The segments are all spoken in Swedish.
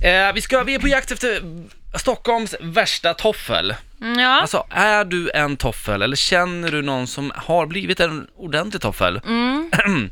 Eh, vi, ska, vi är på jakt efter Stockholms värsta toffel. Mm, Ja, Alltså, är du en toffel eller känner du någon som har blivit en ordentlig toffel? mm.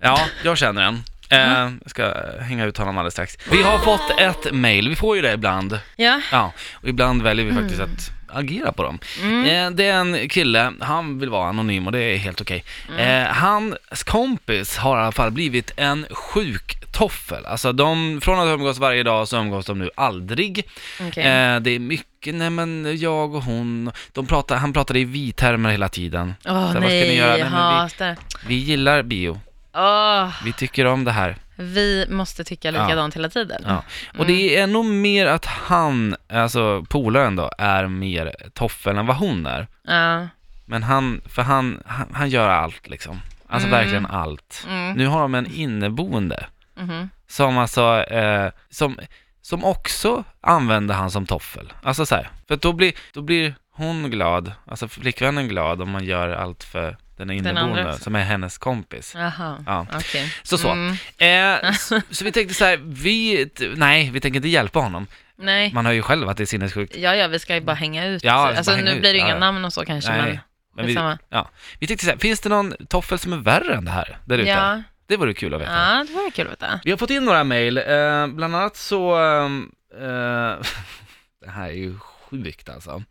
Ja, jag känner en. Eh, jag ska hänga ut honom alldeles strax. Vi har fått ett mail, vi får ju det ibland. ja. Ja, och ibland väljer vi faktiskt Mm. att agera på dem. Eh, det är en kille, han vill vara anonym och det är helt okej. Mm. Eh, hans kompis har i alla fall blivit en sjuk toffel. Alltså de, från att umgås varje dag så umgås de nu aldrig. okej. Eh, det är mycket, nej men jag och hon, de pratar, han pratade i vi-termer hela tiden. Åh vad ska ni nej, göra? Nej, jag men vi- hatar Vi gillar bio, Åh, vi tycker om det här. Vi måste tycka likadant hela tiden. Ja. Och Mm. det är nog mer att han, alltså polaren då, är mer toffel än vad hon är. Ja. Men han, för han, han, han gör allt liksom. Alltså verkligen allt. Mm. Nu har de en inneboende Mhm. som alltså, eh, som, som också använder han som toffel. Alltså så här, för att då blir, då blir hon glad, alltså flickvännen glad om man gör allt för den inneboende andra också. som är hennes kompis. Jaha, Ja. okej. Så så. Mm. Eh, så, så vi tänkte så här, vi, t- nej vi tänker inte hjälpa honom. Nej, Man hör ju själv att det är sinnessjukt. ja, ja, vi ska ju bara hänga ut. Ja, vi ska alltså, bara hänga nu ut. blir det ju Ja, inga ja. namn och så kanske, Nej. men, liksom- Men vi, samma. ja. vi tänkte så här, finns det någon toffel som är värre än det här där ute? Ja. Det vore kul att veta. ja, det vore kul att veta. Vi har fått in några mejl, eh, bland annat så... ehm, Eh, det här är ju sjukt alltså.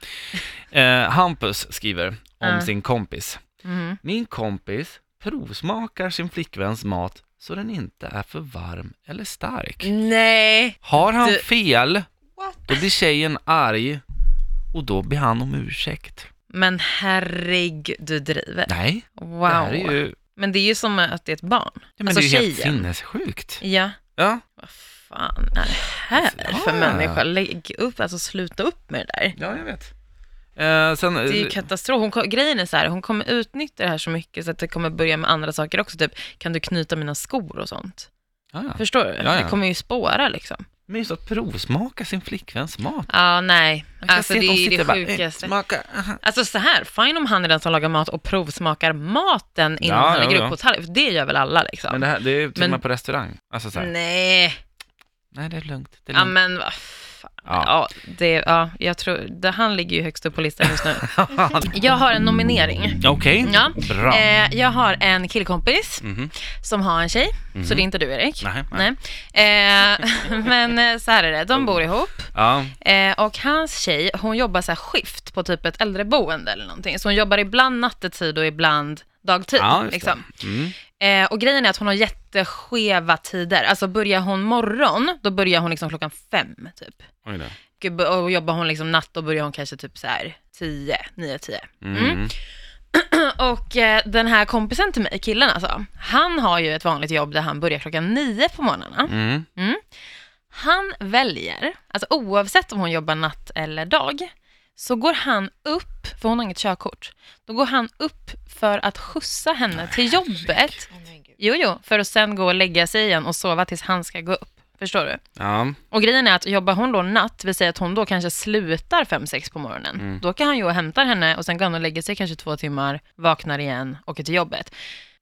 Eh, Hampus skriver om Ja. sin kompis. Mhm. Min kompis provsmakar sin flickväns mat så den inte är för varm eller stark. Nej, Har han Du- fel, då blir tjejen arg och då ber han om ursäkt. men herregud, du driver. Nej, Wow. det här är ju... Men det är ju som att det är ett barn. Ja, men Alltså, det är ju helt tjejen. sinnessjukt. Ja. Ja. Vad fan är det här för Ja. människa? Lägg upp, alltså sluta upp med det där. ja, jag vet. Eh, sen, Det är ju katastrof. Hon, kom- grejen är så här, hon kommer utnyttja det här så mycket så att det kommer börja med andra saker också. Typ, kan du knyta mina skor och sånt? ja, ja. Förstår du? ja. Det kommer ju spåra liksom. Men just att provsmaka sin flickväns mat. Ja, nej. Man kan Alltså se att det de är ju sitter det och bara, sjukaste. "Eh, Smaka. aha." Alltså så här, fine om han är den som lagar mat och provsmakar maten innan Ja, han lägger jo, upp ja. på tallrik. För det gör väl alla liksom. Men det, här, det är ju till och Men- med på restaurang. Alltså så här, nej, nej det är lugnt. Det är ja lugnt. men vad fan. Ja. Ja. det, ja, jag tror, det, han ligger ju högst upp på listan just nu. Okej, Jag har en nominering. Ja. bra. Eh, jag har en killkompis Mhm. som har en tjej, så det är inte du Erik. Nej, nej. Nej. Eh, men eh, så här är det, de bor ihop Ja, eh, och hans tjej, hon jobbar så här skift på typ ett äldreboende eller någonting. Så hon jobbar ibland nattetid och ibland dagtid. ja just liksom. det. Mm. eh, och grejen är att hon har jätteskeva tider. Alltså börjar hon morgon, då börjar hon liksom klockan fem typ. Oj då. Och b- Och jobbar hon liksom natt, då börjar hon kanske typ så här tio, nio, tio. Mm. Och eh, den här kompisen till mig, killen alltså, han har ju ett vanligt jobb där han börjar klockan nio på morgnarna. Mm. Han väljer, alltså oavsett om hon jobbar natt eller dag, så går han upp, för hon har inget körkort, då går han upp för att skjutsa henne till jobbet. Jo, jo, för att sen gå och lägga sig igen och sova tills han ska gå upp. Förstår du? Ja, Och grejen är att jobbar hon då natt, vi säger att hon då kanske slutar 5-6 på morgonen, då kan han ju och hämtar henne och sen går han och lägger sig kanske två timmar, vaknar igen, åker till jobbet.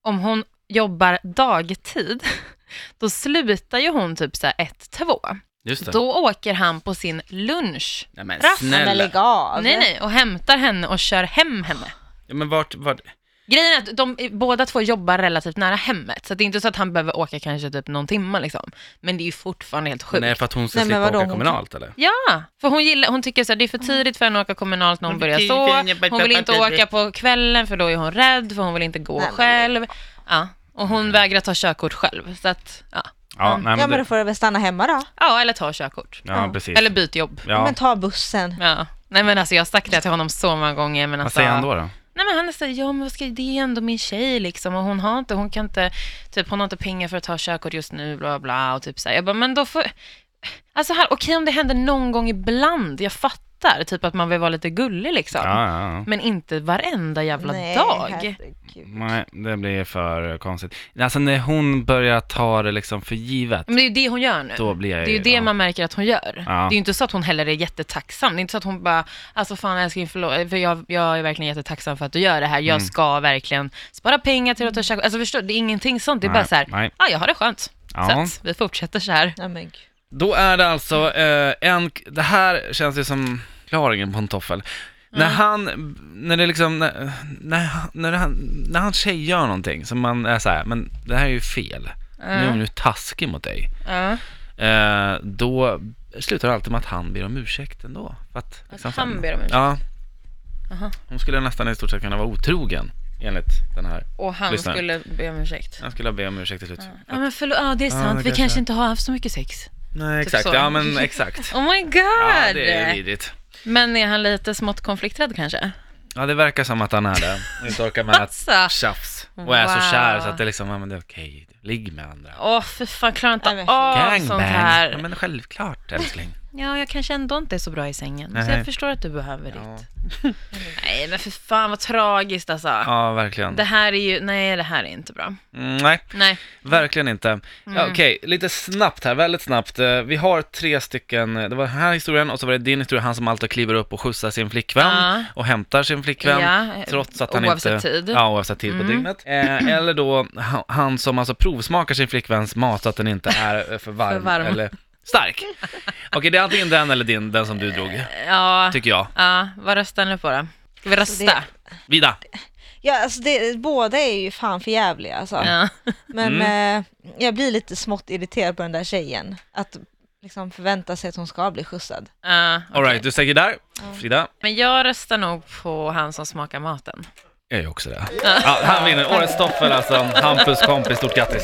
Om hon jobbar dagtid, då slutar ju hon typ så här 1-2. just det. Då åker han på sin lunch, nej, men Raff- Men snälla. lägg av. nej nej, och hämtar henne och kör hem henne. Ja, men vart, vart? Grejen är att de, eh, båda två jobbar relativt nära hemmet, så att det är inte så att han behöver åka kanske typ någon timme liksom. Men det är ju fortfarande helt sjukt. Men är det för att hon ska Nej, men slippa vadå, åka hon- kommunalt eller? Ja, för hon, gillar, hon tycker så här, det är för tidigt för henne att åka kommunalt när hon börjar så. Hon vill inte åka på kvällen för då är hon rädd för hon vill inte gå Nej, men- själv. Ja, och hon vägrar ta körkort själv. Så att, ja. Ja, nej, Ja men det- då får du väl stanna hemma då. ja, eller ta körkort. ja precis. Eller byt jobb. ja. Men ta bussen. Ja. Nej men alltså jag har sagt det till honom så många gånger. Men Vad alltså, säger han då? då? Nej men han är så här, ja men vad ska, det är ändå min tjej liksom och hon har inte, hon kan inte, typ hon har inte pengar för att ta körkort just nu bla bla, bla och typ så här. Jag bara, men då får, alltså här, okej om det händer någon gång ibland, jag fattar, typ att man vill vara lite gullig liksom. Ja, ja, ja. Men inte varenda jävla Nej, dag. herregud. Nej, det blir för konstigt. Alltså när hon börjar ta det liksom för givet, Men det är ju det hon gör nu. då blir jag Det är ju det ja. man märker att hon gör. Ja. Det är ju inte så att hon heller är jättetacksam. Det är inte så att hon bara, alltså fan älskling förlåt, för jag, jag är verkligen jättetacksam för att du gör det här. Jag Mm. ska verkligen spara pengar till att ta kök. Alltså förstår du, det är ingenting sånt. Det är Nej, bara så här, nej. ja jag har det skönt. Ja. Så att vi fortsätter så här. Ja, men gud. Då är det alltså eh, en, det här känns ju som klaringen på en toffel. När Mm. han, när det liksom, när, när, han- när, han, när han tjej gör någonting som man är så här, men det här är ju fel. Nu är hon ju taskig mot dig. Ja. Eh, då slutar det alltid med att han ber om ursäkt ändå. För att, liksom, han sen- ber om ursäkt? Ja. Aha. Hon skulle nästan i stort sett kunna vara otrogen, enligt den här. Och han Lyssna. skulle be om ursäkt. Han skulle be om ursäkt till slut. Ja, men förlåt, ja, det är Ja, sant. men vi kanske- kanske inte har haft så mycket sex. Nej, Typ exakt. så. ja, men exakt. Oh my god! Ja, det är vidrigt. Men är han lite smått konflikträdd kanske? Ja, det verkar som att han är det. Och Inte orkar med att Alltså, tjafs. Och är Wow. så kär så att det liksom, ja men det är okej. Ligg med andra. åh för fan, klarar Nej, inte men av sånt Gangbang. Ja, här. men självklart älskling. Ja, jag kanske ändå inte är så bra i sängen. Så Nej. jag förstår att du behöver Ja. ditt. Nej, men för fan vad tragiskt alltså. Ja, verkligen. Det här är ju, nej det här är inte bra. Mm, nej, Nej. verkligen inte. Mm. Ja, okej, lite snabbt här, väldigt snabbt. Eh, Vi har tre stycken, eh, det var den här historien och så var det din historia, han som alltid kliver upp och skjutsar sin flickvän Ja. och hämtar sin flickvän. Ja, Trots att han oavsett inte... tid. Mm. Ja, oavsett tid på dygnet. Eh, eller då ha- han som alltså provsmakar sin flickväns mat så att den inte är eh, för varm, För varm. eller stark. Okej, det är antingen den eller din, den som du drog, Ja, tycker jag. ja, vad röstar ni på då? Ska vi rösta? det- Vida, Ja, alltså det, båda är ju fan för jävliga alltså. Ja. Men Mm. eh, jag blir lite smått irriterad på den där tjejen. Att liksom förvänta sig att hon ska bli skjutsad. Ja, All right, du säger där. Frida, Men jag röstar nog på han som smakar maten. jag är också det. Ja, han vinner, årets toffel alltså. Hampus kompis, stort grattis.